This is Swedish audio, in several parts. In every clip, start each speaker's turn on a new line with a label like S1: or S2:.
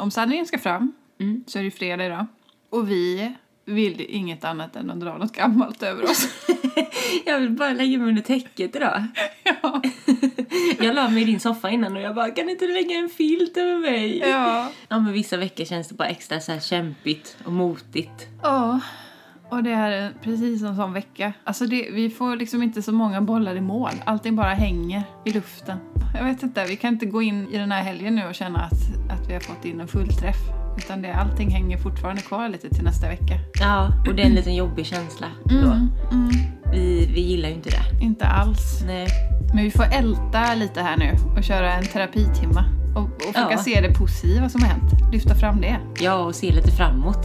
S1: Om sanningen ska fram
S2: Mm.
S1: så är det ju fredag idag. Och vi vill inget annat än att dra något gammalt över oss.
S2: Jag vill bara lägga mig under täcket idag.
S1: ja.
S2: Jag la mig i din soffa innan och jag bara, kan inte du lägga en filt över mig?
S1: ja.
S2: Ja, men vissa veckor känns det bara extra så här kämpigt och motigt.
S1: Ja. Och det här är precis en sån vecka. Alltså det, vi får liksom inte så många bollar i mål. Allting bara hänger i luften. Jag vet inte, vi kan inte gå in i den här helgen nu och känna att, att vi har fått in en fullträff. Utan det, allting hänger fortfarande kvar lite till nästa vecka.
S2: Ja, och det är en liten jobbig känsla då.
S1: Mm, mm,
S2: Vi, vi gillar ju inte det.
S1: inte alls.
S2: Nej.
S1: Men vi får älta lite här nu och köra en terapitimma. Och, och försöka
S2: Ja.
S1: se det positiva som har hänt. Lyfta fram det.
S2: Ja, och se lite framåt.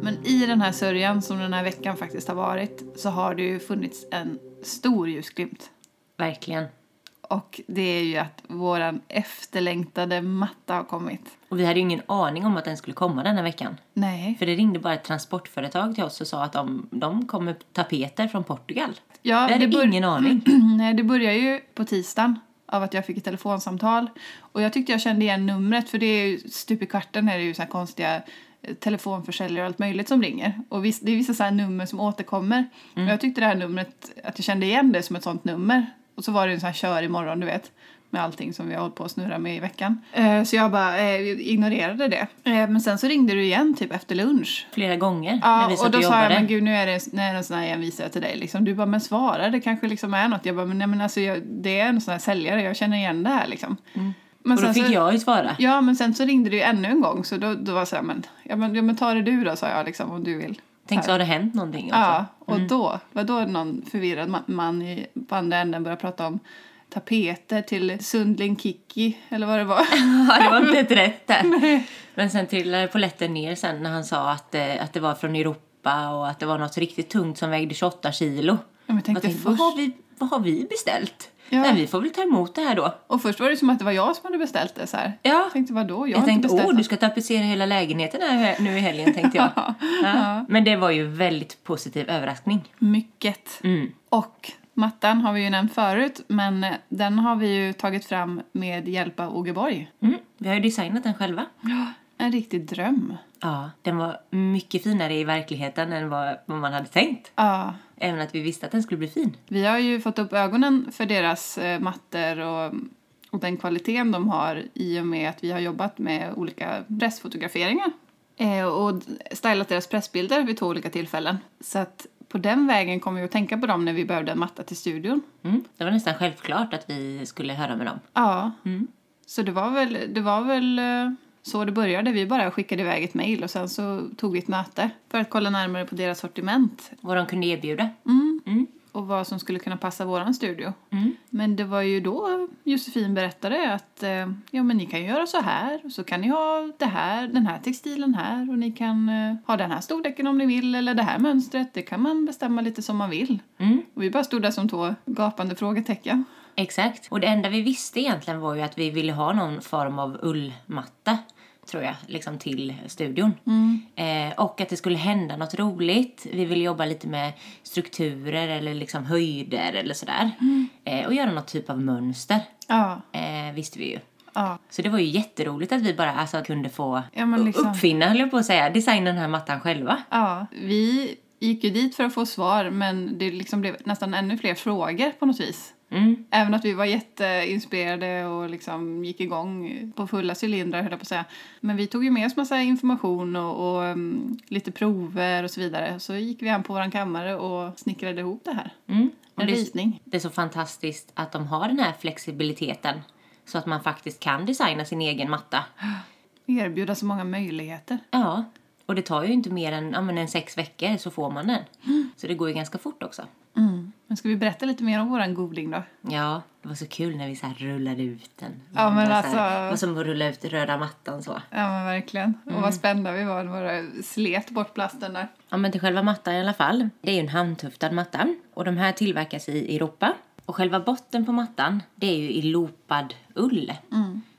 S1: Men i den här sörjan som den här veckan faktiskt har varit så har det ju funnits en stor ljusglimt.
S2: Verkligen.
S1: Och det är ju att våran efterlängtade matta har kommit.
S2: Och vi hade ju ingen aning om att den skulle komma den här veckan.
S1: Nej.
S2: För det ringde bara ett transportföretag till oss och sa att de, de kom med tapeter från Portugal.
S1: Ja,
S2: Vi hade
S1: bör-
S2: ingen aning.
S1: Nej, det börjar ju på tisdagen av att jag fick ett telefonsamtal. Och jag tyckte jag kände igen numret för det är ju stup i kvarten är det ju så här konstiga eh, telefonförsäljare och allt möjligt som ringer. Och vis- det är vissa så här nummer som återkommer.
S2: Mm.
S1: Och jag tyckte det här numret, att jag kände igen det som ett sånt nummer. Och så var det ju en sån här kör imorgon, du vet. Med allting som vi har hållit på att snurra med i veckan. Eh, Så jag bara eh, ignorerade det. Eh, Men sen så ringde du igen typ efter lunch.
S2: Flera gånger när vi
S1: Ja,
S2: satt
S1: och då
S2: och,
S1: sa jag,
S2: jobbade.
S1: men gud nu är det, nu är det en sån här igen visar jag till dig. Liksom. Du bara, men svara, det kanske liksom är något. Jag bara, men, nej, men alltså, jag, det är en sån här säljare, jag känner igen det här liksom. Men
S2: Mm. och då
S1: sen
S2: fick
S1: så,
S2: jag ju svara.
S1: Ja, men sen så ringde du ju ännu en gång, så då, då var jag så här, men, ja, men, ja, men ta det du då, sa jag liksom, om du vill.
S2: Tänk så Mm. har det hänt någonting också.
S1: Ja, och då var då någon förvirrad ma- man i, på andra änden började prata om tapeter till Sundling Kiki, eller vad det var.
S2: Ja, det var inte ett rätt där. Men sen trillade poletten ner sen när han sa att, eh, att det var från Europa och att det var något riktigt tungt som vägde 28 kilo.
S1: men jag tänkte
S2: vad,
S1: först-
S2: har vi, vad har vi beställt?
S1: Ja.
S2: Nej, vi får väl ta emot det här då.
S1: Och först var det som att det var jag som hade beställt det så här.
S2: Ja.
S1: Jag tänkte, vadå? Jag,
S2: Jag,
S1: har inte
S2: tänkte,
S1: beställt
S2: åh, du
S1: något."
S2: ska tapetsera hela lägenheten här nu i helgen, tänkte jag. ja. Men det var ju väldigt positiv överraskning.
S1: Mycket.
S2: Mm.
S1: Och mattan har vi ju nämnt förut, men den har vi ju tagit fram med hjälp av Ågeborg.
S2: Mm. Vi har ju designat den själva.
S1: En riktig dröm.
S2: Ja, den var mycket finare i verkligheten än vad, vad man hade tänkt.
S1: Ja,
S2: Även att vi visste att den skulle bli fin.
S1: vi har ju fått upp ögonen för deras eh, mattor och, och den kvaliteten de har i och med att vi har jobbat med olika pressfotograferingar eh, och d- stylat deras pressbilder vid två olika tillfällen. Så att på den vägen kom vi att tänka på dem när vi behövde en matta till studion.
S2: Mm. Det var nästan självklart att vi skulle höra med dem.
S1: Ja.
S2: Mm.
S1: Så det var väl, det var väl eh, så det började. Vi bara skickade iväg ett mejl och sen så tog vi ett möte för att kolla närmare på deras sortiment
S2: Vad de kunde erbjuda.
S1: Mm.
S2: Mm.
S1: och vad som skulle kunna passa våran studio.
S2: Mm.
S1: Men det var ju då Josefin berättade att eh, ja, men ni kan göra så här och så kan ni ha det här, den här textilen här och ni kan eh, ha den här storleken om ni vill eller det här mönstret. Det kan man bestämma lite som man vill.
S2: Mm.
S1: Och vi bara stod där som två gapande frågetecken.
S2: Exakt. Och det enda vi visste egentligen var ju att vi ville ha någon form av ullmatta, tror jag, liksom till studion.
S1: Mm.
S2: Eh, och att det skulle hända något roligt. Vi ville jobba lite med strukturer eller liksom höjder eller sådär.
S1: Mm.
S2: Eh, och göra något typ av mönster,
S1: Ja,
S2: eh, visste vi ju.
S1: ja.
S2: Så det var ju jätteroligt att vi bara alltså, kunde få
S1: Ja, men liksom-
S2: uppfinna, höll jag på att säga, designa den här mattan själva.
S1: Ja, vi gick ju dit för att få svar men det liksom blev nästan ännu fler frågor på något vis.
S2: Mm.
S1: Även att vi var jätteinspirerade och liksom gick igång på fulla cylindrar höll jag på att säga. Men vi tog ju med oss massa information och, och mm, lite prover och så vidare. Så gick vi hem på vår kammare och snickrade ihop det här.
S2: Mm. Och
S1: En
S2: det-
S1: ritning.
S2: det är så fantastiskt att de har den här flexibiliteten så att man faktiskt kan designa sin egen matta.
S1: Erbjuda så många möjligheter.
S2: Ja, och det tar ju inte mer än, ja, men en sex veckor så får man den. Så det går ju ganska fort också.
S1: Men ska vi berätta lite mer om våran goding då?
S2: Ja, det var så kul när vi så här rullade ut den.
S1: Ja, men
S2: Det var
S1: alltså-
S2: Så här, det var som att rulla ut röda mattan så.
S1: Ja men verkligen. Mm. Och vad spända vi var när våra slet bort plasten där.
S2: Ja, men till själva mattan i alla fall. Det är ju en handtuftad matta och de här tillverkas i Europa. Och själva botten på mattan, det är ju i lopad ull.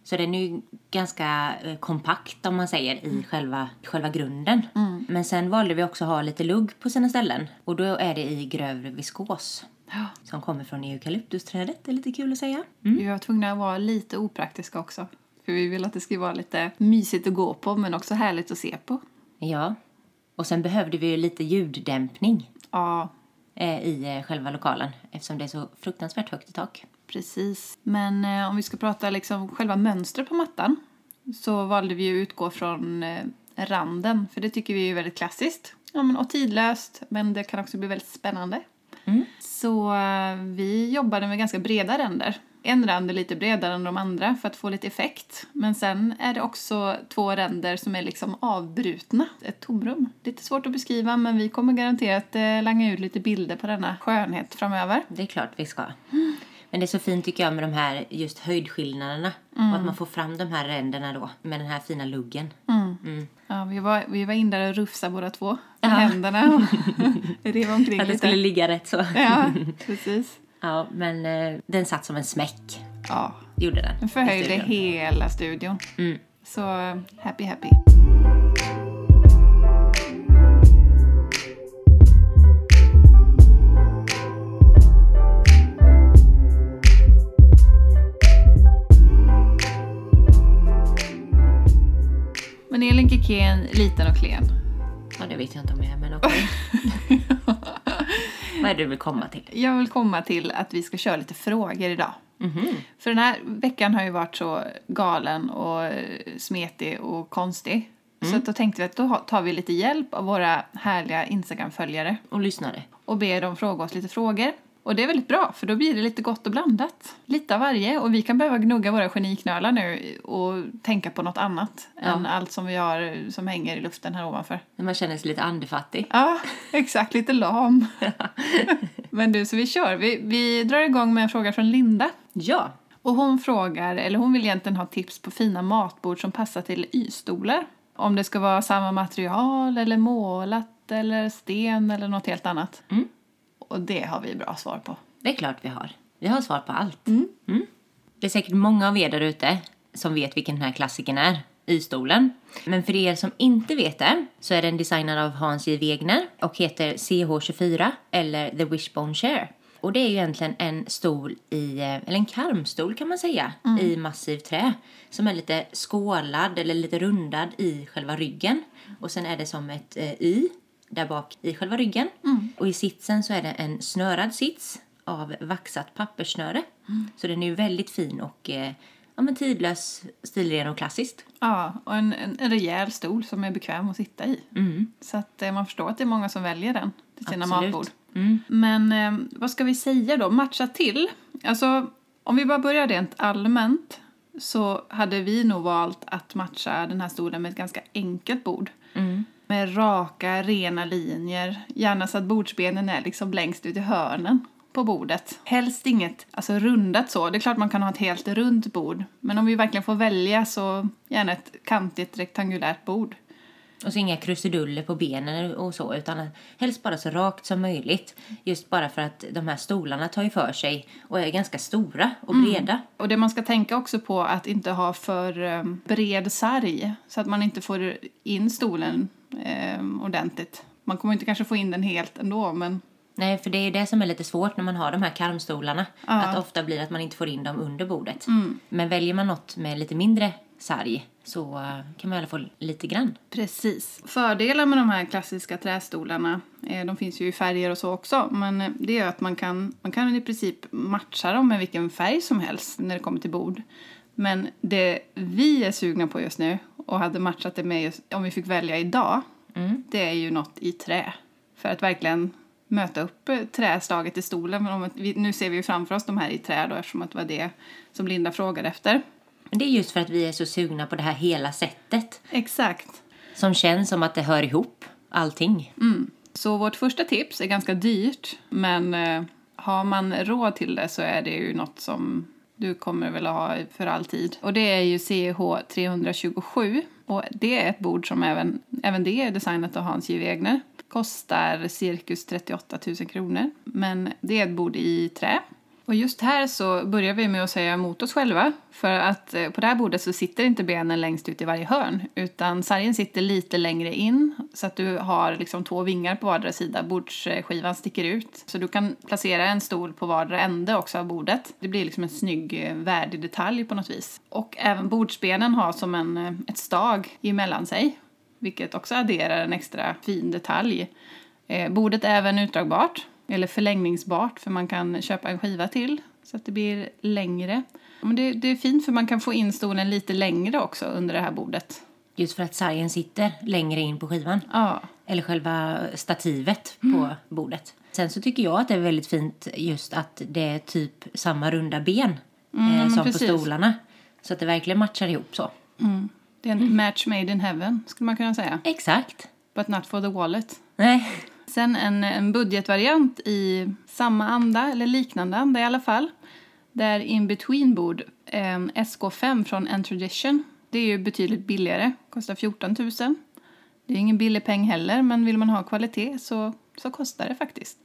S2: Så den är ju ganska eh, kompakt om man säger i själva, själva grunden. Men sen valde vi också att ha lite lugg på sina ställen och då är det i grövre viskos
S1: Ja.
S2: som kommer från eukalyptusträdet. Det är lite kul att säga. Mm.
S1: Vi var tvungna att vara lite opraktiska också. För vi vill att det ska vara lite mysigt att gå på men också härligt att se på.
S2: Ja. Och sen behövde vi ju lite ljuddämpning
S1: Ja,
S2: eh, i eh, själva lokalen eftersom det är så fruktansvärt högt i tak.
S1: precis. Men eh, om vi ska prata liksom själva mönstret på mattan så valde vi ju att utgå från eh, randen för det tycker vi är väldigt klassiskt. Ja, men, och tidlöst men det kan också bli väldigt spännande.
S2: Mm.
S1: Så eh, vi jobbade med ganska breda ränder. En rand är lite bredare än de andra för att få lite effekt. Men sen är det också två ränder som är liksom avbrutna. Ett tomrum. Lite svårt att beskriva men vi kommer garanterat eh, langa ut lite bilder på denna skönhet framöver.
S2: Det är klart vi ska. Men det är så fint tycker jag med de här just höjdskillnaderna och att man får fram de här ränderna då med den här fina luggen. Mm.
S1: Ja, vi var, vi var in där och rufsade båda två med händerna och rev omkring
S2: Att det
S1: lite.
S2: skulle ligga rätt så.
S1: Ja, precis.
S2: Ja, men eh, den satt som en smäck.
S1: Ja,
S2: Gjorde den.
S1: den
S2: i
S1: förhöjde
S2: studion.
S1: hela studion.
S2: Mm.
S1: Så happy, happy. Men Elin Keke är en liten och klen.
S2: Ja, det vet jag inte om jag är, men okej. Vad är det du vill komma till?
S1: Jag vill komma till att vi ska köra lite frågor idag.
S2: Mhm.
S1: För den här veckan har ju varit så galen och eh, smetig och konstig. Så att då tänkte vi att då ha- tar vi lite hjälp av våra härliga Instagram-följare
S2: Och lyssnare.
S1: och ber dem fråga oss lite frågor. Och det är väldigt bra, för då blir det lite gott och blandat. Lite av varje. Och vi kan behöva gnugga våra geniknölar nu och tänka på något annat än allt som vi har eh, som hänger i luften här ovanför.
S2: När man känner sig lite andefattig.
S1: Ja, exakt. Lite lam. Men du, så vi kör. Vi, vi drar igång med en fråga från Linda.
S2: Ja.
S1: Och hon frågar, eller hon vill egentligen ha tips på fina matbord som passar till Y-stolar. Om det ska vara samma material eller målat eller sten eller något helt annat.
S2: Mm.
S1: Och det har vi bra svar på.
S2: Det är klart vi har. Vi har svar på allt. Mm. Det är säkert många av er där ute som vet vilken den här klassiken är, Y-stolen. Men för er som inte vet det så är den designad av Hans J. Wegner och heter CH24 eller The Wishbone Chair. Och det är ju egentligen en stol i, eh, eller en karmstol kan man säga, i massivt trä. Som är lite skålad eller lite rundad i själva ryggen. Och sen är det som ett eh, Y där bak i själva ryggen. Och i sitsen så är det en snörad sits av vaxat papperssnöre. Så den är ju väldigt fin och eh, ja, men tidlös, stilren och klassiskt.
S1: Ja, och en, en, en rejäl stol som är bekväm att sitta i. Så att eh, man förstår att det är många som väljer den till sina
S2: Mm. Absolut.
S1: matbord.
S2: Mm.
S1: Men eh, vad ska vi säga då? Matcha till? Alltså, om vi bara börjar rent allmänt så hade vi nog valt att matcha den här stolen med ett ganska enkelt bord. Med raka, rena linjer. Gärna så att bordsbenen är liksom längst ut i hörnen på bordet. Helst inget alltså rundat så. Det är klart man kan ha ett helt runt bord. Men om vi verkligen får välja så gärna ett kantigt rektangulärt bord.
S2: Och så inga krusiduller på benen och så, utan helst bara så rakt som möjligt. Just bara för att de här stolarna tar ju för sig och är ganska stora och breda.
S1: Och det man ska tänka också på är att inte ha för eh, bred sarg så att man inte får in stolen eh, ordentligt. Man kommer inte kanske få in den helt ändå men
S2: Nej, för det är det som är lite svårt när man har de här karmstolarna. Att det ofta blir att man inte får in dem under bordet. Men väljer man något med lite mindre sarg så eh, kan man i alla fall lite grann.
S1: Precis. Fördelen med de här klassiska trästolarna, eh, de finns ju i färger och så också, men eh, det är att man kan, man kan i princip matcha dem med vilken färg som helst när det kommer till bord. Men det vi är sugna på just nu och hade matchat det med just, om vi fick välja idag, det är ju något i trä. För att verkligen möta upp eh, träslaget i stolen. Men om att vi, nu ser vi ju framför oss de här i trä då eftersom att det var det som Linda frågade efter.
S2: Men det är just för att vi är så sugna på det här hela sättet.
S1: Exakt.
S2: Som känns som att det hör ihop allting.
S1: Så vårt första tips är ganska dyrt, men eh, har man råd till det så är det ju något som du kommer väl att ha för all tid. Och det är ju CH 327 och det är ett bord som även, även det är designat av Hans J. Wegner. Kostar cirkus 38 000 kronor, men det är ett bord i trä Och just här så börjar vi med att säga emot oss själva. För att eh, på det här bordet så sitter inte benen längst ut i varje hörn. Utan sargen sitter lite längre in. Så att du har liksom två vingar på vardera sida. Bordsskivan sticker ut. Så du kan placera en stol på vardera ände också av bordet. Det blir liksom en snygg, eh, värdig detalj på något vis. Och även bordsbenen har som en, eh, ett stag emellan sig. Vilket också adderar en extra fin detalj. Eh, bordet är även utdragbart, eller förlängningsbart, för man kan köpa en skiva till så att det blir längre. Ja, Men det, det är fint för man kan få in stolen lite längre också under det här bordet.
S2: Just för att sargen sitter längre in på skivan.
S1: Ja,
S2: Eller själva stativet på bordet. Sen så tycker jag att det är väldigt fint just att det är typ samma runda ben eh, som
S1: precis.
S2: på stolarna. Så att det verkligen matchar ihop så.
S1: det är en match made in heaven skulle man kunna säga.
S2: Exakt.
S1: But not for the wallet.
S2: Nej.
S1: Sen en, en budgetvariant i samma anda, eller liknande anda i alla fall. Där in-between bord, ehm, en SK5 från Entradition. Det är ju betydligt billigare, kostar 14 000. Det är ingen billig peng heller, men vill man ha kvalitet så, så kostar det faktiskt.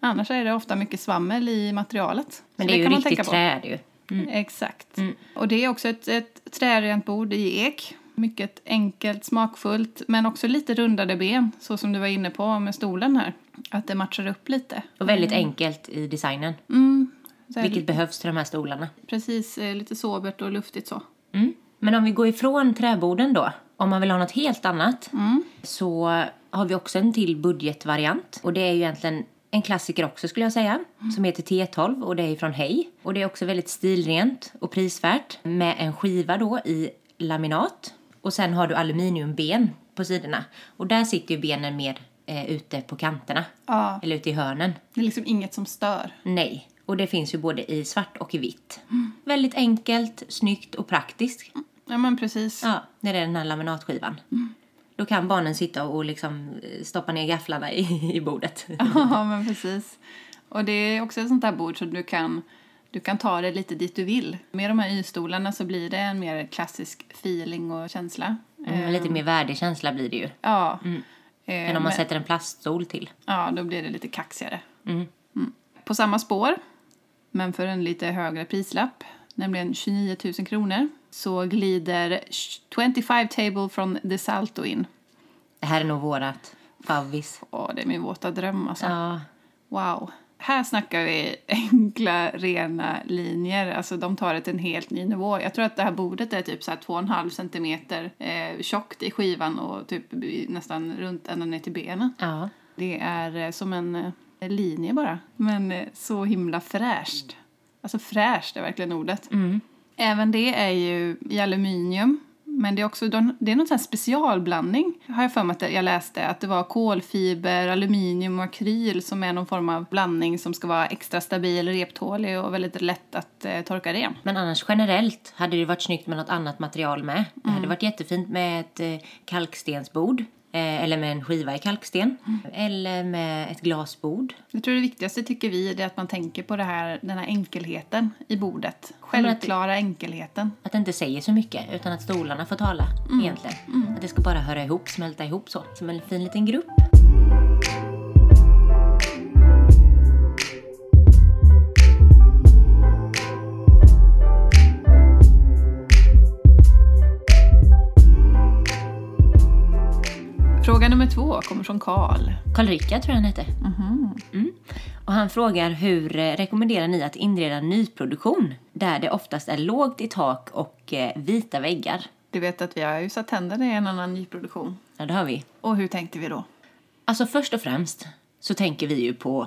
S1: Annars är det ofta mycket svammel i materialet. Så
S2: Mm. Men det är ju
S1: kan man
S2: riktigt
S1: tänka på.
S2: trä är det ju.
S1: Exakt.
S2: Mm.
S1: Och det är också ett, ett trärent bord i ek. Mycket enkelt, smakfullt, men också lite rundade ben, så som du var inne på med stolen här. Att det matchar upp lite.
S2: Och väldigt
S1: Mm.
S2: enkelt i designen.
S1: Så här,
S2: Vilket behövs till de här stolarna.
S1: Precis, eh, lite sobert och luftigt så.
S2: Mm. Men om vi går ifrån träborden då, om man vill ha något helt annat,
S1: Mm.
S2: så har vi också en till budgetvariant. Och det är ju egentligen en klassiker också skulle jag säga,
S1: Mm.
S2: som heter T12 och det är från Hej. Och det är också väldigt stilrent och prisvärt med en skiva då i laminat. Och sen har du aluminiumben på sidorna. Och där sitter ju benen mer eh, ute på kanterna,
S1: Ja,
S2: eller ute i hörnen.
S1: det är liksom inget som stör.
S2: Nej. Och det finns ju både i svart och i vitt. Väldigt enkelt, snyggt och praktiskt.
S1: Ja, men precis.
S2: Ja, när det är den här laminatskivan. Då kan barnen sitta och liksom eh, stoppa ner gafflarna i, i bordet.
S1: Ja, men precis. Och det är också ett sånt där bord så du kan, du kan ta det lite dit du vill. Med de här Y-stolarna så blir det en mer klassisk feeling och känsla. Eh,
S2: Mm, lite mer värdekänsla blir det ju.
S1: Ja. Eh,
S2: Än om man
S1: men-
S2: sätter en plaststol till.
S1: Ja, då blir det lite kaxigare. Mm. På samma spår, men för en lite högre prislapp, nämligen 29 000 kronor, så glider 25 Table från DeSalto in.
S2: Det här är nog vårat favvis.
S1: Åh, det är min våta dröm alltså.
S2: Ja,
S1: Wow. Här snackar vi enkla, rena linjer. Alltså de tar det till en helt ny nivå. Jag tror att det här bordet är typ så här 2,5 centimeter eh, tjockt i skivan och typ nästan runt ända ner till benen.
S2: ja.
S1: Det är eh, som en eh, linje bara, men eh, så himla fräscht. Alltså fräscht är verkligen ordet.
S2: Mm.
S1: Även det är ju i aluminium, men det är också det är någon sån här specialblandning. Har jag för mig att jag läste att det var kolfiber, aluminium och akryl som är någon form av blandning som ska vara extra stabil, reptålig och väldigt lätt att eh, torka ren.
S2: Men annars generellt hade det varit snyggt med något annat material med. Det hade varit jättefint med ett eh, kalkstensbord. eh, Eller med en skiva i kalksten. Eller med ett glasbord.
S1: Jag tror det viktigaste tycker vi det är att man tänker på det här, den här enkelheten i bordet.
S2: men att-
S1: Självklara enkelheten.
S2: Att det inte säger så mycket utan att stolarna får tala egentligen. Att det ska bara höra ihop, smälta ihop så. Som en fin liten grupp.
S1: Fråga nummer två kommer från Karl.
S2: Karl Rickard tror jag han hette. Mm. Och han frågar hur eh, rekommenderar ni att inreda nyproduktion? Där det oftast är lågt i tak och eh, vita väggar.
S1: Du vet att vi har ju satt tänderna i en annan nyproduktion.
S2: Ja, det har vi.
S1: Och hur tänkte vi då?
S2: Alltså först och främst så tänker vi ju på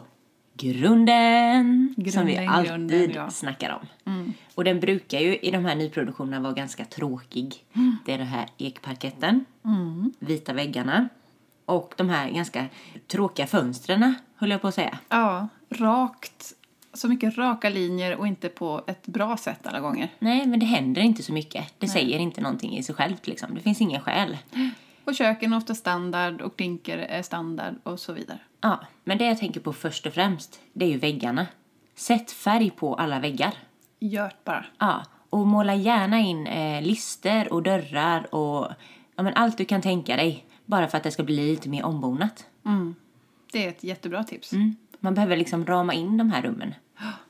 S2: grunden, som vi
S1: Grunden,
S2: alltid
S1: grunden, ja. Mm.
S2: snackar om. Och den brukar ju i de här nyproduktionerna vara ganska tråkig. Det är den här ekparketten,
S1: Mm.
S2: vita väggarna och de här ganska tråkiga fönstren, höll jag på att säga.
S1: Ja, rakt. Så mycket raka linjer och inte på ett bra sätt alla gånger.
S2: Nej, men det händer inte så mycket. Det säger inte någonting i sig självt liksom. Det finns ingen skäl.
S1: Och köken är ofta standard och dinker är standard och så vidare.
S2: Ja, men det jag tänker på först och främst, det är ju väggarna. Sätt färg på alla väggar.
S1: Gört bara.
S2: Ja, och måla gärna in eh, lister och dörrar och ja, men allt du kan tänka dig. Bara för att det ska bli lite mer ombonat.
S1: Det är ett jättebra tips.
S2: Mm. Man behöver liksom rama in de här rummen.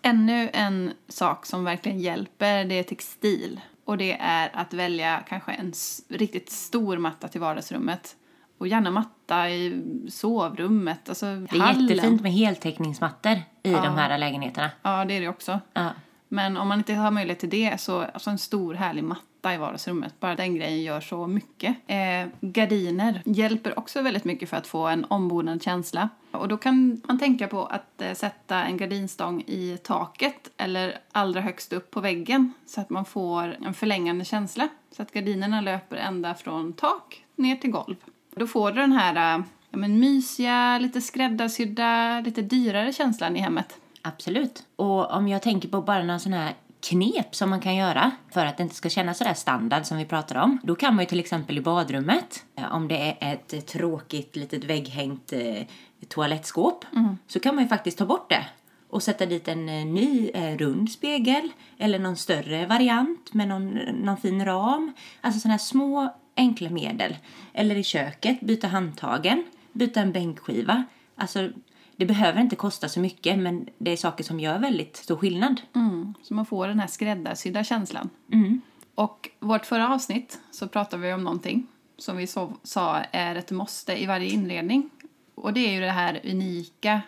S1: Ännu en sak som verkligen hjälper det är textil. Och det är att välja kanske en s- riktigt stor matta till vardagsrummet. Och gärna matta i sovrummet, alltså
S2: Det är jättefint med heltäckningsmattor i de här lägenheterna.
S1: Ja, det är det också.
S2: Ja.
S1: Men om man inte har möjlighet till det så alltså en stor härlig matta i vardagsrummet. Bara den grejen gör så mycket. Eh, gardiner hjälper också väldigt mycket för att få en ombonad känsla. Och då kan man tänka på att eh, sätta en gardinstång i taket eller allra högst upp på väggen så att man får en förlängande känsla. Så att gardinerna löper ända från tak ner till golv. Då får du den här eh, ja, men mysiga, lite skräddarsydda, lite dyrare känslan i hemmet.
S2: Absolut. Och om jag tänker på bara några sådana här knep som man kan göra för att det inte ska kännas sådär standard som vi pratar om. Då kan man ju till exempel i badrummet, eh, om det är ett tråkigt litet vägghängt eh, toalettskåp, så kan man ju faktiskt ta bort det och sätta dit en eh, ny eh, rund spegel eller någon större variant med någon, någon fin ram. Alltså sådana här små enkla medel. Eller i köket, byta handtagen, byta en bänkskiva. Alltså det behöver inte kosta så mycket men det är saker som gör väldigt stor skillnad.
S1: Mm, så man får den här skräddarsydda känslan.
S2: Mm.
S1: Och vårt förra avsnitt så pratade vi om någonting som vi så, sa är ett måste i varje inredning. Och det är ju det här unika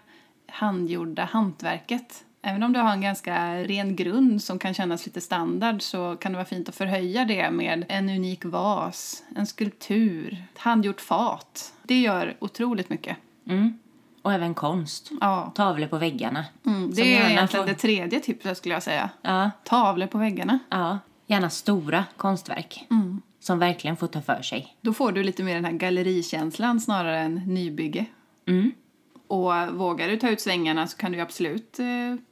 S1: handgjorda hantverket. Även om du har en ganska ren grund som kan kännas lite standard så kan det vara fint att förhöja det med en unik vas, en skulptur, ett handgjort fat. Det gör otroligt mycket.
S2: Och även konst.
S1: Ja.
S2: Tavlor på väggarna.
S1: Mm,
S2: Som
S1: Det är
S2: gärna
S1: egentligen
S2: får-
S1: det tredje tipset skulle jag säga.
S2: Ja,
S1: Tavlor på väggarna.
S2: ja. Gärna stora konstverk.
S1: Mm.
S2: Som verkligen får ta för sig.
S1: Då får du lite mer den här gallerikänslan snarare än nybygge. Och vågar du ta ut svängarna så kan du ju absolut eh,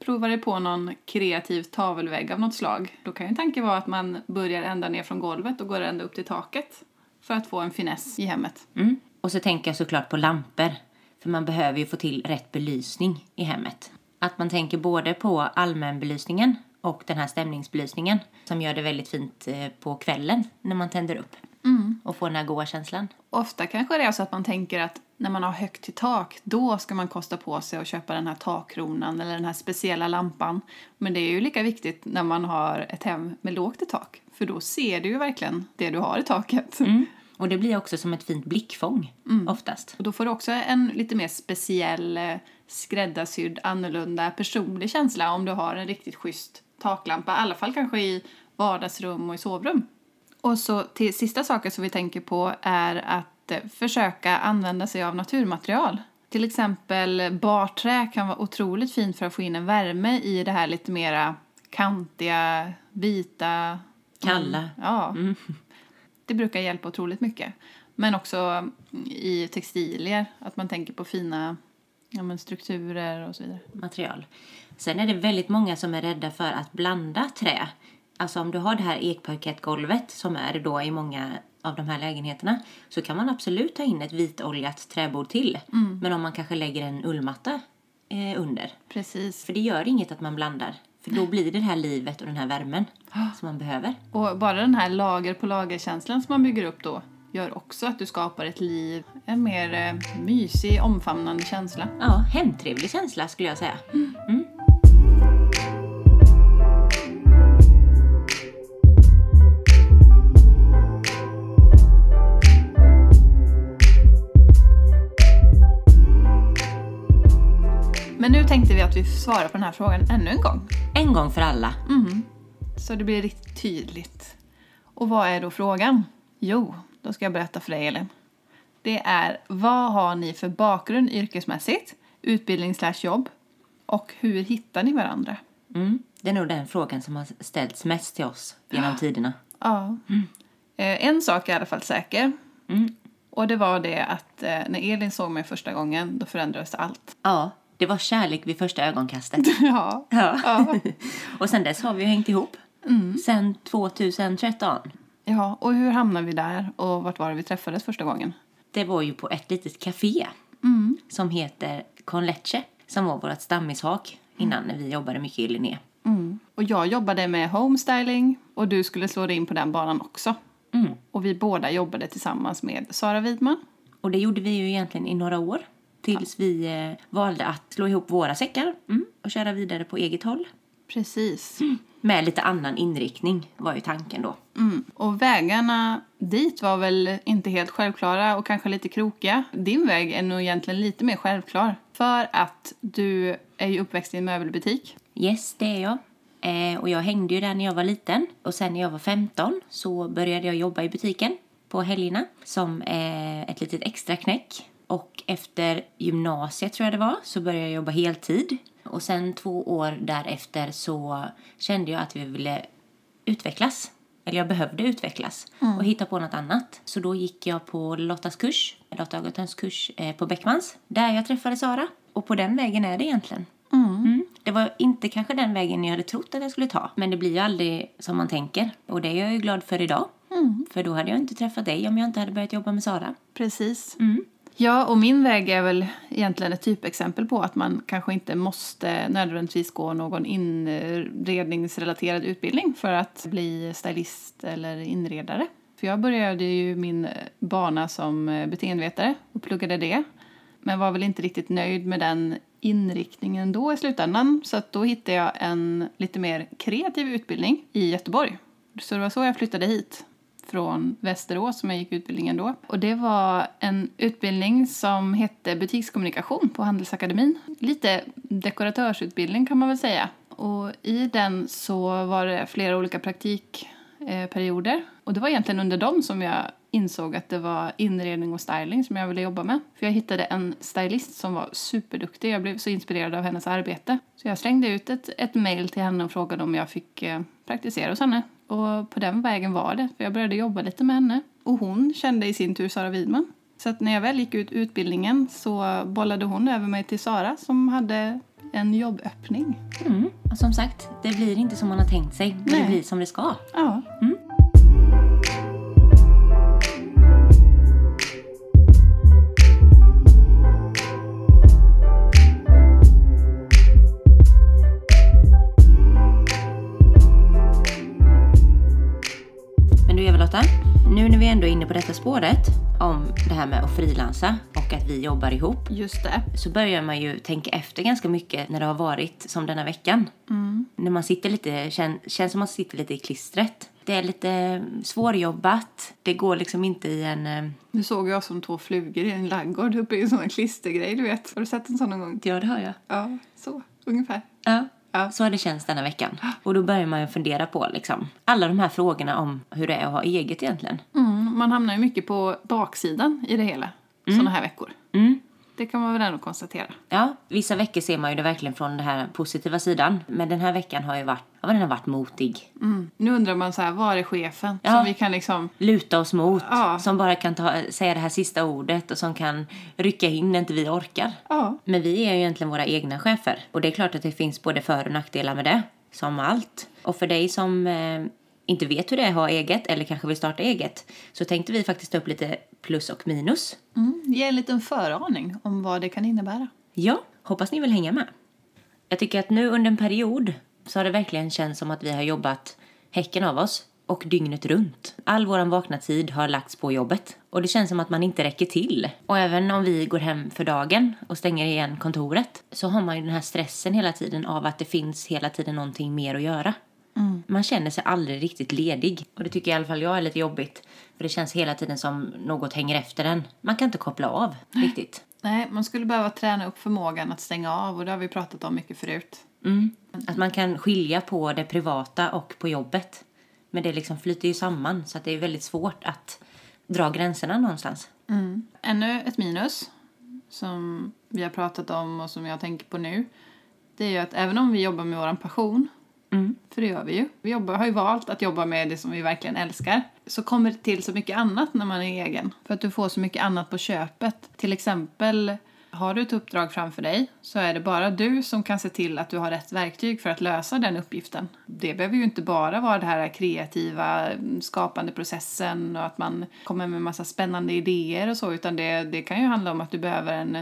S1: prova dig på någon kreativ tavelvägg av något slag. Då kan ju tanken vara att man börjar ända ner från golvet och går ända upp till taket för att få en finess i hemmet.
S2: Mm. Och så tänker jag såklart på lampor. För man behöver ju få till rätt belysning i hemmet. Att man tänker både på allmänbelysningen och den här stämningsbelysningen som gör det väldigt fint eh, på kvällen när man tänder upp.
S1: Mm.
S2: Och får den här goa känslan.
S1: Ofta kanske det är så att man tänker att när man har högt till tak, då ska man kosta på sig att köpa den här takkronan eller den här speciella lampan. Men det är ju lika viktigt när man har ett hem med lågt i tak, för då ser du ju verkligen det du har i taket.
S2: Mm. Och det blir också som ett fint blickfång oftast.
S1: Och då får du också en lite mer speciell, eh, skräddarsydd, annorlunda, personlig känsla om du har en riktigt schysst taklampa. I alla fall kanske i vardagsrum och i sovrum. Och så till sista saken som vi tänker på är att eh, försöka använda sig av naturmaterial. Till exempel eh, barträ kan vara otroligt fint för att få in en värme i det här lite mera kantiga, vita...
S2: Kalla.
S1: Ja. Det brukar hjälpa otroligt mycket. Men också i textilier, att man tänker på fina ja, men strukturer och så vidare.
S2: material. Sen är det väldigt många som är rädda för att blanda trä. Alltså om du har det här ekparkettgolvet som är då i många av de här lägenheterna så kan man absolut ta in ett vitoljat träbord till. Men om man kanske lägger en ullmatta eh, under.
S1: Precis.
S2: För det gör inget att man blandar. För då blir det det här livet och den här värmen som man behöver.
S1: Och bara den här lager på lager-känslan som man bygger upp då gör också att du skapar ett liv, en mer eh, mysig, omfamnande känsla.
S2: Ja, hemtrevlig känsla skulle jag säga.
S1: Men nu tänkte vi att vi svarar på den här frågan ännu en gång.
S2: En gång för alla.
S1: Så det blir riktigt tydligt. Och vad är då frågan? Jo, då ska jag berätta för dig Elin. Det är vad har ni för bakgrund yrkesmässigt, utbildning slash jobb och hur hittar ni varandra?
S2: Mm. Det är nog den frågan som har ställts mest till oss genom tiderna.
S1: Ja. Eh, En sak är i alla fall säker. Och det var det att eh, när Elin såg mig första gången då förändrades allt.
S2: Ja, det var kärlek vid första ögonkastet.
S1: Ja.
S2: Ja. Mm.
S1: Ja.
S2: och sen dess har vi ju hängt ihop. Sen 2013.
S1: ja, och hur hamnade vi där och vart var det vi träffades första gången?
S2: Det var ju på ett litet café som heter Con Leche, som var vårt stammishak innan när vi jobbade mycket i Linné.
S1: Och jag jobbade med homestyling och du skulle slå dig in på den banan också. Och vi båda jobbade tillsammans med Sara Widman.
S2: Och det gjorde vi ju egentligen i några år Tills vi eh, valde att slå ihop våra säckar mm, och köra vidare på eget håll.
S1: Precis.
S2: Med lite annan inriktning var ju tanken då.
S1: Mm. Och vägarna dit var väl inte helt självklara och kanske lite krokiga. Din väg är nog egentligen lite mer självklar. För att du är ju uppväxt i en möbelbutik.
S2: Yes, det är jag. Eh, och jag hängde ju där när jag var liten. Och sen när jag var 15 så började jag jobba i butiken på helgerna som eh, ett litet extra knäck. Och efter gymnasiet tror jag det var så började jag jobba heltid. Och sen två år därefter så kände jag att vi ville utvecklas. Eller jag behövde utvecklas och hitta på något annat. Så då gick jag på Lottas kurs, Lotta Ögertons kurs eh, på Beckmans. Där jag träffade Sara. Och på den vägen är det egentligen. Mm. Det var inte kanske den vägen jag hade trott att jag skulle ta. Men det blir ju aldrig som man tänker. Och det är jag ju glad för idag. För då hade jag inte träffat dig om jag inte hade börjat jobba med Sara.
S1: Precis. Mm. Ja, och min väg är väl egentligen ett typexempel på att man kanske inte måste nödvändigtvis gå någon inredningsrelaterad utbildning för att bli stylist eller inredare. För jag började ju min bana som beteendevetare och pluggade det. Men var väl inte riktigt nöjd med den inriktningen då i slutändan. Så att då hittade jag en lite mer kreativ utbildning i Göteborg. Så det var så jag flyttade hit från Västerås som jag gick utbildningen då. Och det var en utbildning som hette butikskommunikation på Handelsakademin. Lite dekoratörsutbildning kan man väl säga. Och i den så var det flera olika praktikperioder. eh, Och det var egentligen under dem som jag insåg att det var inredning och styling som jag ville jobba med. För jag hittade en stylist som var superduktig. Jag blev så inspirerad av hennes arbete. Så jag slängde ut ett, ett mail till henne och frågade om jag fick eh, praktisera hos henne. Och på den vägen var det, för jag började jobba lite med henne. Och hon kände i sin tur Sara Widman. Så att när jag väl gick ut utbildningen så bollade hon över mig till Sara som hade en jobböppning.
S2: Mm. Och som sagt, det blir inte som man har tänkt sig. men Det
S1: Nej.
S2: blir som det ska.
S1: Ja.
S2: Men du Eva-Lotta, nu när vi ändå är inne på detta spåret om det här med att frilansa och att vi jobbar ihop
S1: Just det.
S2: så börjar man ju tänka efter ganska mycket när det har varit som denna veckan. När man sitter lite, känn, känns som man sitter lite i klistret. Det är lite svårjobbat. Det går liksom inte i en... eh,
S1: Nu såg jag som två flugor i en laggård uppe i en sån här klistergrej, du vet. Har du sett en sån någon gång?
S2: Ja, det hör jag.
S1: Ja, så ungefär.
S2: Ja.
S1: Ja.
S2: Så har det känts denna veckan. Och då börjar man ju fundera på liksom, alla de här frågorna om hur det är att ha eget egentligen.
S1: Mm, man hamnar ju mycket på baksidan i det hela, såna här veckor.
S2: Mm.
S1: Det kan man väl ändå konstatera.
S2: Ja, vissa veckor ser man ju det verkligen från den här positiva sidan. Men den här veckan har ju varit, ja, den har varit motig.
S1: Nu undrar man så här, var är chefen?
S2: Ja.
S1: Som vi kan liksom...
S2: Luta oss mot,
S1: Ja.
S2: som bara kan ta, säga det här sista ordet och som kan rycka in när inte vi orkar.
S1: Ja,
S2: Men vi är ju egentligen våra egna chefer. Och det är klart att det finns både för och nackdelar med det. Som allt. Och för dig som eh, inte vet hur det är att ha eget eller kanske vill starta eget. Så tänkte vi faktiskt ta upp lite plus och minus.
S1: mm, ge en liten föraning om vad det kan innebära.
S2: Ja, hoppas ni vill hänga med. Jag tycker att nu under en period så har det verkligen känts som att vi har jobbat häcken av oss och dygnet runt. All vår vakna tid har lagts på jobbet och det känns som att man inte räcker till. Och även om vi går hem för dagen och stänger igen kontoret så har man ju den här stressen hela tiden av att det finns hela tiden någonting mer att göra. Man känner sig aldrig riktigt ledig. Och det tycker i alla fall jag är lite jobbigt. För det känns hela tiden som något hänger efter en. Man kan inte koppla av riktigt.
S1: Nej, man skulle behöva träna upp förmågan att stänga av och det har vi pratat om mycket förut.
S2: Mm. Att man kan skilja på det privata och på jobbet. Men det liksom flyter ju samman så att det är väldigt svårt att dra gränserna någonstans.
S1: Mm. Ännu ett minus som vi har pratat om och som jag tänker på nu. Det är ju att även om vi jobbar med vår passion, Mm. för det gör vi ju. Vi jobbar, har ju valt att jobba med det som vi verkligen älskar. Så kommer det till så mycket annat när man är egen. För att du får så mycket annat på köpet. Till exempel har du ett uppdrag framför dig så är det bara du som kan se till att du har rätt verktyg för att lösa den uppgiften. Det behöver ju inte bara vara det här kreativa mm, skapande processen och att man kommer med massa spännande idéer och så utan det, det kan ju handla om att du behöver en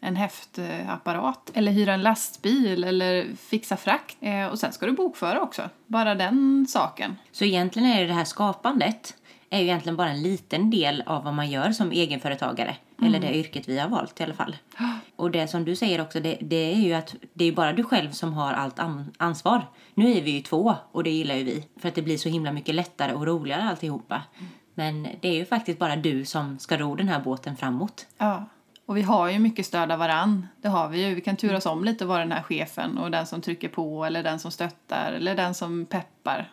S1: en häftapparat eller hyra en lastbil eller fixa frakt. Eh, och sen ska du bokföra också. Bara den saken.
S2: Så egentligen är det här skapandet är ju egentligen bara en liten del av vad man gör som egenföretagare. Eller det yrket vi har valt i alla fall. Och det som du säger också, det, det är ju att det är bara du själv som har allt an- ansvar. Nu är vi ju två och det gillar ju vi. För att det blir så himla mycket lättare och roligare alltihopa. Men det är ju faktiskt bara du som ska ro den här båten framåt.
S1: Ja. Och vi har ju mycket stöd av varann. Det har vi ju. Vi kan turas om lite och vara den här chefen och den som trycker på eller den som stöttar eller den som peppar.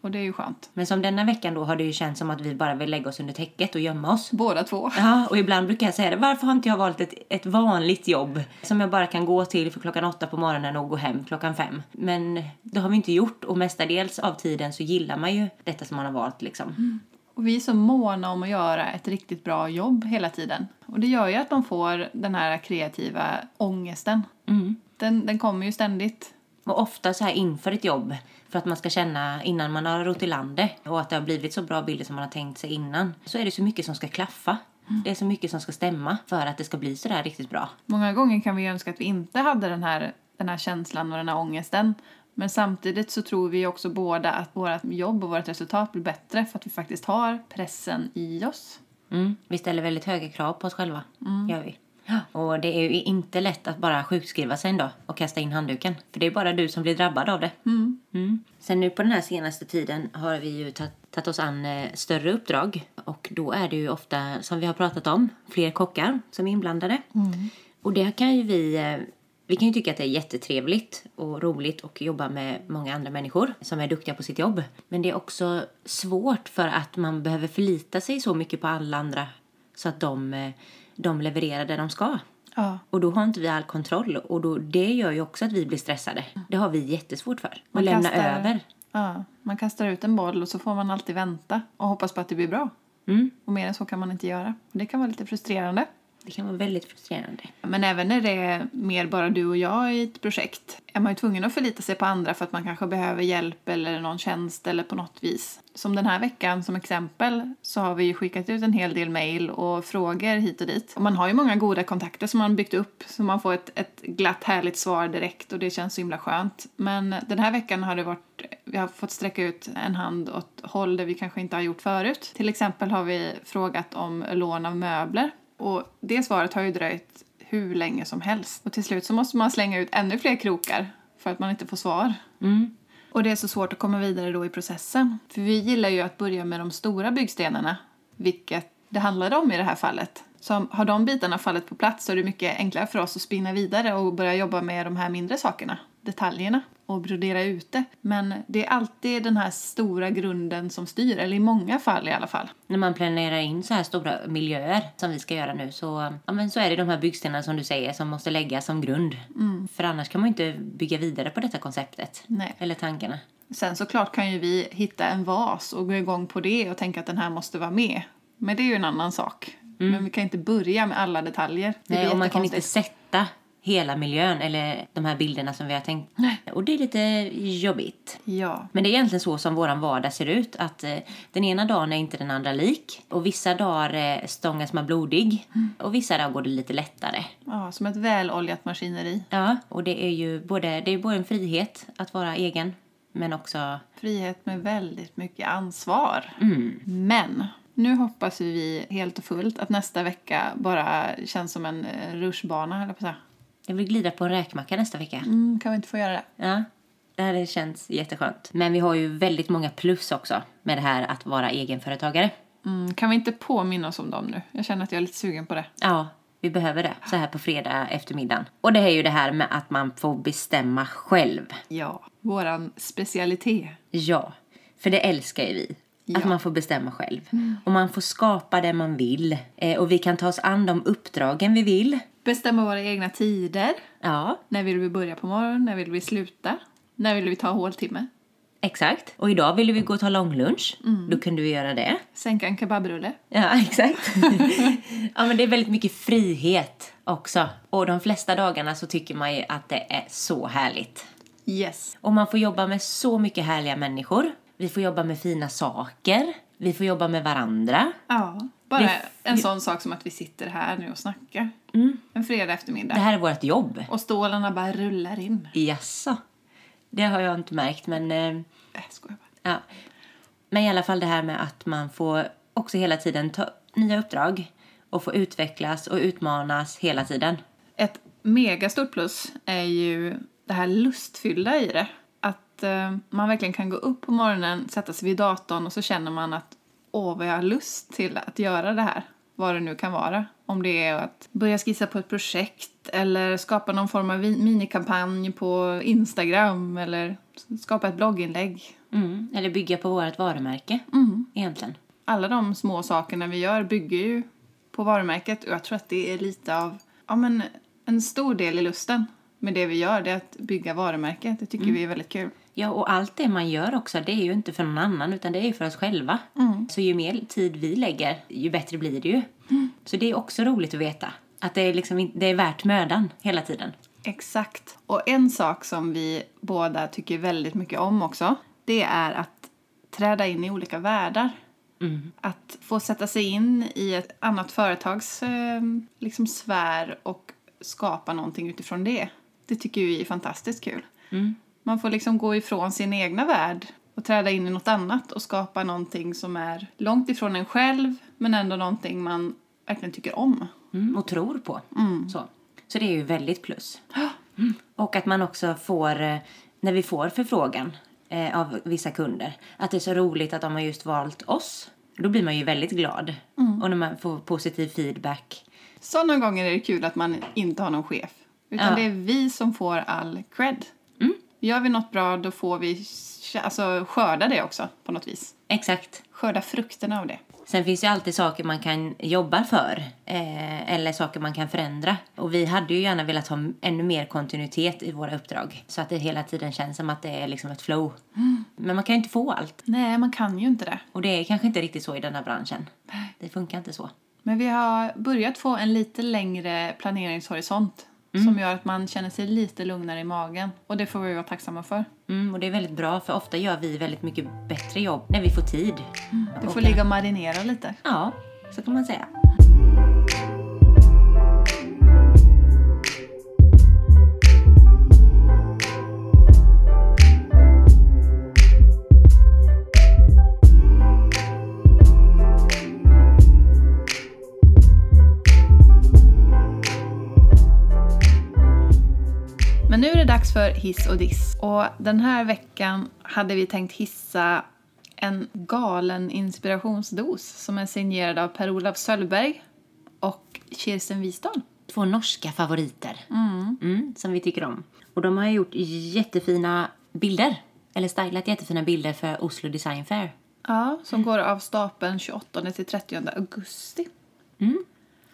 S1: Och det är ju skönt.
S2: Men som denna veckan då har det ju känts som att vi bara vill lägga oss under täcket och gömma oss.
S1: Båda två.
S2: Ja, och ibland brukar jag säga det. Varför har inte jag valt ett, ett vanligt jobb som jag bara kan gå till för klockan åtta på morgonen och gå hem klockan fem? Men det har vi inte gjort och mestadels av tiden så gillar man ju detta som man har valt liksom.
S1: Och vi är så måna om att göra ett riktigt bra jobb hela tiden. Och det gör ju att man får den här kreativa ångesten. Den, den kommer ju ständigt.
S2: Och ofta så här inför ett jobb för att man ska känna innan man har rott i landet och att det har blivit så bra bilder som man har tänkt sig innan så är det så mycket som ska klaffa. Det är så mycket som ska stämma för att det ska bli så där riktigt bra.
S1: Många gånger kan vi önska att vi inte hade den här, den här känslan och den här ångesten. Men samtidigt så tror vi också båda att vårt jobb och vårt resultat blir bättre för att vi faktiskt har pressen i oss.
S2: Mm. Vi ställer väldigt höga krav på oss själva. Gör vi. Och det är ju inte lätt att bara sjukskriva sig en dag och kasta in handduken. För det är bara du som blir drabbad av det. Mm. Sen nu på den här senaste tiden har vi ju tagit tagit oss an eh, större uppdrag. Och då är det ju ofta, som vi har pratat om, fler kockar som är inblandade. Och det kan ju vi eh, vi kan ju tycka att det är jättetrevligt och roligt att jobba med många andra människor som är duktiga på sitt jobb. Men det är också svårt för att man behöver förlita sig så mycket på alla andra så att de, eh, de levererar det de ska.
S1: Ja.
S2: Och då har inte vi all kontroll och då, det gör ju också att vi blir stressade. Det har vi jättesvårt för.
S1: Man
S2: Att lämna
S1: kastar-
S2: över.
S1: ja. Man kastar ut en boll och så får man alltid vänta och hoppas på att det blir bra.
S2: Mm.
S1: Och mer än så kan man inte göra. Det kan vara lite frustrerande.
S2: Det kan vara väldigt frustrerande.
S1: Men även när det är mer bara du och jag i ett projekt är man ju tvungen att förlita sig på andra för att man kanske behöver hjälp eller någon tjänst eller på något vis. Som den här veckan som exempel så har vi ju skickat ut en hel del mejl och frågor hit och dit. Och man har ju många goda kontakter som man byggt upp så man får ett, ett glatt härligt svar direkt och det känns så himla skönt. Men den här veckan har det varit, vi har fått sträcka ut en hand åt håll där vi kanske inte har gjort förut. Till exempel har vi frågat om lån av möbler och det svaret har ju dröjt hur länge som helst. Och till slut så måste man slänga ut ännu fler krokar för att man inte får svar. Och det är så svårt att komma vidare då i processen. För vi gillar ju att börja med de stora byggstenarna, vilket det handlade om i det här fallet. Så har de bitarna fallit på plats så är det mycket enklare för oss att spinna vidare och börja jobba med de här mindre sakerna, detaljerna och brodera ut det. Men det är alltid den här stora grunden som styr, eller i många fall i alla fall.
S2: När man planerar in så här stora miljöer som vi ska göra nu så, ja, men så är det de här byggstenarna som du säger som måste läggas som grund. För annars kan man ju inte bygga vidare på detta konceptet.
S1: Mm. Nej.
S2: Eller tankarna.
S1: Sen såklart kan ju vi hitta en vas och gå igång på det och tänka att den här måste vara med. Men det är ju en annan sak. Men vi kan inte börja med alla detaljer. Det
S2: Mm. Nej,
S1: blir
S2: och man kan inte
S1: jättekonstigt.
S2: sätta hela miljön eller de här bilderna som vi har tänkt.
S1: Nej.
S2: Och det är lite jobbigt.
S1: Ja.
S2: Men det är egentligen så som våran vardag ser ut. Att eh, den ena dagen är inte den andra lik. Och vissa dagar eh, stångas man blodig.
S1: Mm.
S2: Och vissa dagar går det lite lättare.
S1: ja, som ett väloljat maskineri.
S2: Ja, och det är ju både, det är både en frihet att vara egen, men också...
S1: Frihet med väldigt mycket ansvar.
S2: Mm.
S1: Men nu hoppas ju vi helt och fullt att nästa vecka bara känns som en eh, rutschbana, eller på så.
S2: Jag vill glida på en räkmacka nästa vecka.
S1: Mm, kan vi inte få göra det?
S2: Ja, det här känns jätteskönt. Men vi har ju väldigt många plus också med det här att vara egenföretagare.
S1: Mm, kan vi inte påminna oss om dem nu? Jag känner att jag är lite sugen på det.
S2: Ja, vi behöver det så här på fredag eftermiddagen. Och det är ju det här med att man får bestämma själv.
S1: Ja, våran specialitet.
S2: Ja, för det älskar ju vi. Att
S1: Ja. Mm.
S2: man får bestämma själv. Och man får skapa det man vill. Eh, och vi kan ta oss an de uppdragen vi vill.
S1: Bestämma våra egna tider.
S2: Ja,
S1: När vill vi börja på morgonen? När vill vi sluta? När vill vi ta håltimme?
S2: Exakt. Och idag ville vi gå och ta långlunch. Då kunde vi göra det.
S1: Sänka en kebabrulle?
S2: Mm. Ja, exakt. ja, men det är väldigt mycket frihet också. Och de flesta dagarna så tycker man ju att det är så härligt.
S1: Yes.
S2: Och man får jobba med så mycket härliga människor. Vi får jobba med fina saker. Vi får jobba med varandra.
S1: Ja. Bara
S2: Det- Mm.
S1: en sån sak som att vi sitter här nu och snackar. En fredag eftermiddag.
S2: Det här är vårt jobb.
S1: Och stålarna bara rullar in.
S2: Jaså? Det har jag inte märkt, men... Eh,
S1: Äh, skojar bara.
S2: Ja. Men i alla fall det här med att man får också hela tiden ta nya uppdrag och få utvecklas och utmanas hela tiden.
S1: Ett megastort plus är ju det här lustfyllda i det. Att eh, man verkligen kan gå upp på morgonen, sätta sig vid datorn och så känner man att åh vad jag har lust till att göra det här. Vad det nu kan vara. Om det är att börja skissa på ett projekt eller skapa någon form av vi- minikampanj på Instagram eller skapa ett blogginlägg.
S2: Mm. Eller bygga på vårt varumärke egentligen.
S1: alla de små sakerna vi gör bygger ju på varumärket och jag tror att det är lite av, ja men en stor del i lusten med det vi gör, det är att bygga varumärket. Det tycker vi är väldigt kul.
S2: Ja, och allt det man gör också, det är ju inte för någon annan utan det är ju för oss själva. Så ju mer tid vi lägger, ju bättre blir det ju. Så det är också roligt att veta. Att det är, liksom, in- det är värt mödan hela tiden.
S1: Exakt. Och en sak som vi båda tycker väldigt mycket om också, det är att träda in i olika världar. Att få sätta sig in i ett annat företags eh, liksom sfär och skapa någonting utifrån det. Det tycker vi är fantastiskt kul. Man får liksom gå ifrån sin egna värld och träda in i något annat och skapa någonting som är långt ifrån en själv men ändå någonting man verkligen tycker om.
S2: Mm. Och tror på. Så. så det är ju väldigt plus. Mm. Och att man också får, eh, när vi får förfrågan eh, av vissa kunder, att det är så roligt att de har just valt oss. Då blir man ju väldigt glad. Och när man får positiv feedback.
S1: Sådana gånger är det kul att man inte har någon chef. Utan
S2: Ja.
S1: det är vi som får all cred. Gör vi något bra då får vi kä- alltså, skörda det också på något vis.
S2: Exakt.
S1: Skörda frukterna av det.
S2: Sen finns det ju alltid saker man kan jobba för eh, eller saker man kan förändra. Och vi hade ju gärna velat ha m- ännu mer kontinuitet i våra uppdrag så att det hela tiden känns som att det är liksom ett flow. Men man kan ju inte få allt
S1: Nej, man kan ju inte det.
S2: och det är kanske inte riktigt så i den här branschen. Det funkar inte så.
S1: Men vi har börjat få en lite längre planeringshorisont som gör att man känner sig lite lugnare i magen. Och det får vi vara tacksamma för.
S2: Mm, och det är väldigt bra för ofta gör vi väldigt mycket bättre jobb när vi får tid.
S1: Du Mm, får
S2: Och-
S1: ligga och marinera lite.
S2: Ja, så kan man säga.
S1: Men nu är det dags för hiss och diss. Och den här veckan hade vi tänkt hissa en galen inspirationsdos som är signerad av Per-Olof Sölvberg och Kirsten Wisdahl.
S2: två norska favoriter Mm, som vi tycker om. Och de har ju gjort jättefina bilder, eller stylat jättefina bilder för Oslo Design Fair.
S1: Ja, som går av stapeln 28 till 30 augusti.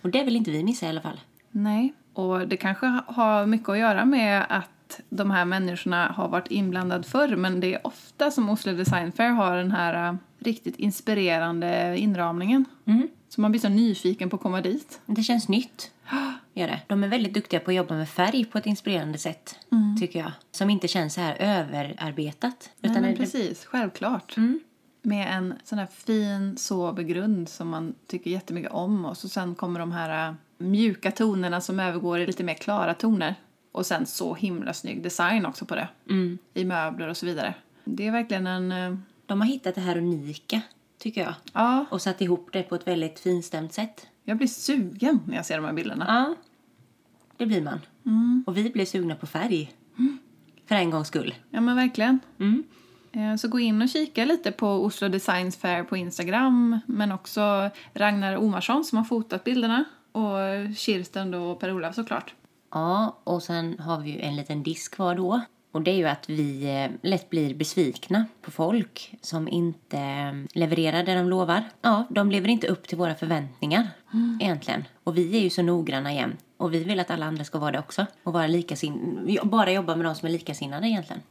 S2: Och det vill inte vi missa i alla fall.
S1: Nej. Och det kanske ha- har mycket att göra med att de här människorna har varit inblandade förr men det är ofta som Oslo Design Fair har den här äh, riktigt inspirerande inramningen. Så man blir så nyfiken på att komma dit.
S2: Det känns nytt. Gör det. De är väldigt duktiga på att jobba med färg på ett inspirerande sätt, tycker jag. Som inte känns så här överarbetat.
S1: Mm. Nej, men
S2: är det,
S1: precis. Självklart. Med en sån här fin, sober grund som man tycker jättemycket om. Och så sen kommer de här äh, mjuka tonerna som övergår i lite mer klara toner. Och sen så himla snygg design också på det. I möbler och så vidare. Det är verkligen en... äh,
S2: de har hittat det här unika, tycker jag.
S1: Ja,
S2: Och satt ihop det på ett väldigt finstämt sätt.
S1: jag blir sugen när jag ser de här bilderna.
S2: Ja, Mm. det blir man. Och vi blir sugna på färg. För en gångs skull.
S1: Ja, men verkligen. Eh, Så gå in och kika lite på Oslo Design Fair på Instagram men också Ragnar Omarsson som har fotat bilderna och Kirsten då och Per-Olof såklart.
S2: Ja, och sen har vi ju en liten disk kvar då. Och det är ju att vi eh, lätt blir besvikna på folk som inte eh, levererar det de lovar. Ja, de lever inte upp till våra förväntningar egentligen. Och vi är ju så noggranna jämt. Och vi vill att alla andra ska vara det också. Och vara likasin... bara jobba med de som är likasinnade egentligen.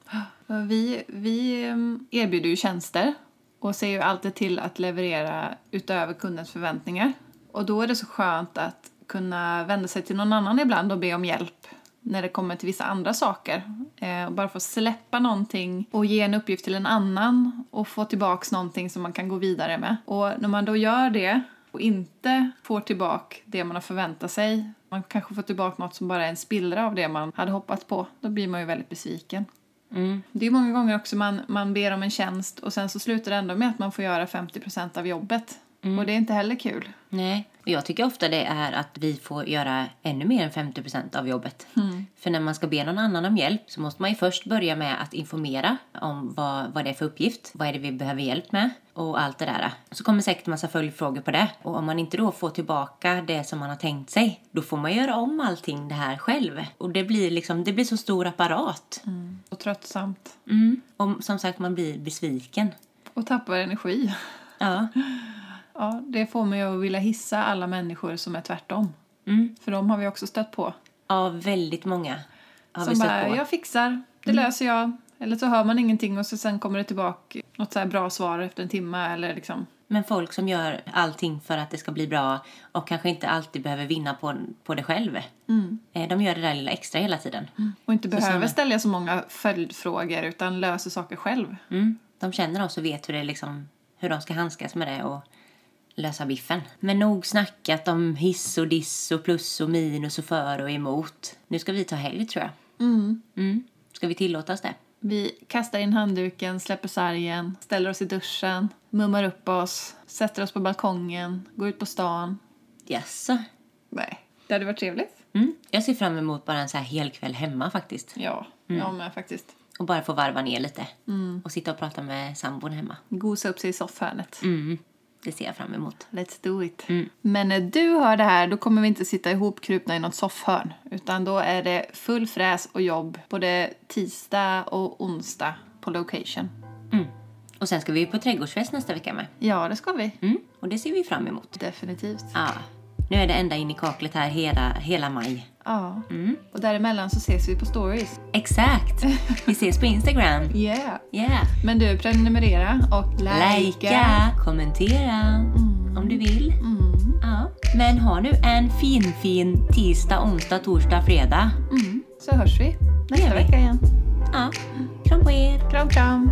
S1: Och Vi, vi eh, erbjuder ju tjänster och ser ju alltid till att leverera utöver kundens förväntningar. Och då är det så skönt att kunna vända sig till någon annan ibland och be om hjälp när det kommer till vissa andra saker. Eh, och bara få släppa någonting och ge en uppgift till en annan och få tillbaks någonting som man kan gå vidare med. Och när man då gör det och inte får tillbaka det man har förväntat sig, man kanske får tillbaka något som bara är en spillra av det man hade hoppats på, då blir man ju väldigt besviken. Det är många gånger också man, man ber om en tjänst och sen så slutar det ändå med att man får göra 50 av jobbet.
S2: Mm.
S1: Och det är inte heller kul.
S2: Nej. Och jag tycker ofta det är att vi får göra ännu mer än 50 av jobbet.
S1: Mm.
S2: För när man ska be någon annan om hjälp så måste man ju först börja med att informera om vad, vad det är för uppgift, vad är det vi behöver hjälp med och allt det där. Så kommer säkert massa följdfrågor på det. Och om man inte då får tillbaka det som man har tänkt sig, då får man göra om allting det här själv. Och det blir liksom, det blir så stor apparat.
S1: Och tröttsamt.
S2: Mm. Och som sagt, man blir besviken.
S1: Och tappar energi.
S2: Ja.
S1: Ja, det får mig att vilja hissa alla människor som är tvärtom.
S2: Mm.
S1: För de har vi också stött på.
S2: Ja, väldigt många har vi
S1: som
S2: stött
S1: bara,
S2: på. Mm.
S1: jag fixar, det löser jag. Eller så hör man ingenting och så sen kommer det tillbaka något så här bra svar efter en timme eller liksom.
S2: Men folk som gör allting för att det ska bli bra och kanske inte alltid behöver vinna på, på det själv. Eh, De gör det där lilla extra hela tiden.
S1: Och inte behöver
S2: sen-
S1: ställa så många följdfrågor utan löser saker själv.
S2: Mm. De känner oss och vet hur, det liksom, hur de ska handskas med det och lösa biffen. Men nog snackat om hiss och diss och plus och minus och för och emot. Nu ska vi ta helg tror jag. Mm. Ska vi tillåtas det?
S1: Vi kastar in handduken, släpper sargen, ställer oss i duschen, mummar upp oss, sätter oss på balkongen, går ut på stan.
S2: Jaså?
S1: Nej. Det hade varit trevligt.
S2: Mm. Jag ser fram emot bara en så här hel kväll hemma faktiskt.
S1: Ja, mm. jag med faktiskt.
S2: Och bara få varva ner lite. Och sitta och prata med sambon hemma.
S1: Gosa upp sig i soffhörnet.
S2: Mm. Det ser jag fram emot.
S1: Let's do it. Men när du hör det här då kommer vi inte sitta ihopkrupna i något soffhörn. Utan då är det full fräs och jobb både tisdag och onsdag på location.
S2: Mm. Och sen ska vi ju på trädgårdsfest nästa vecka med.
S1: Ja, det ska vi.
S2: Mm. Och det ser vi fram emot.
S1: Definitivt.
S2: Ja. Nu är det ända in i kaklet här hela, hela maj.
S1: Ja.
S2: Mm.
S1: Och däremellan så ses vi på stories.
S2: Exakt! Vi ses på Instagram.
S1: Yeah.
S2: Yeah!
S1: Men du, prenumerera och likea.
S2: Lajka, kommentera om du vill. Ja. Men ha nu en fin, fin tisdag, onsdag, torsdag, fredag.
S1: Mm. Så hörs vi nästa
S2: gör vi.
S1: vecka igen.
S2: Ja. Kram på er!
S1: Kram, kram.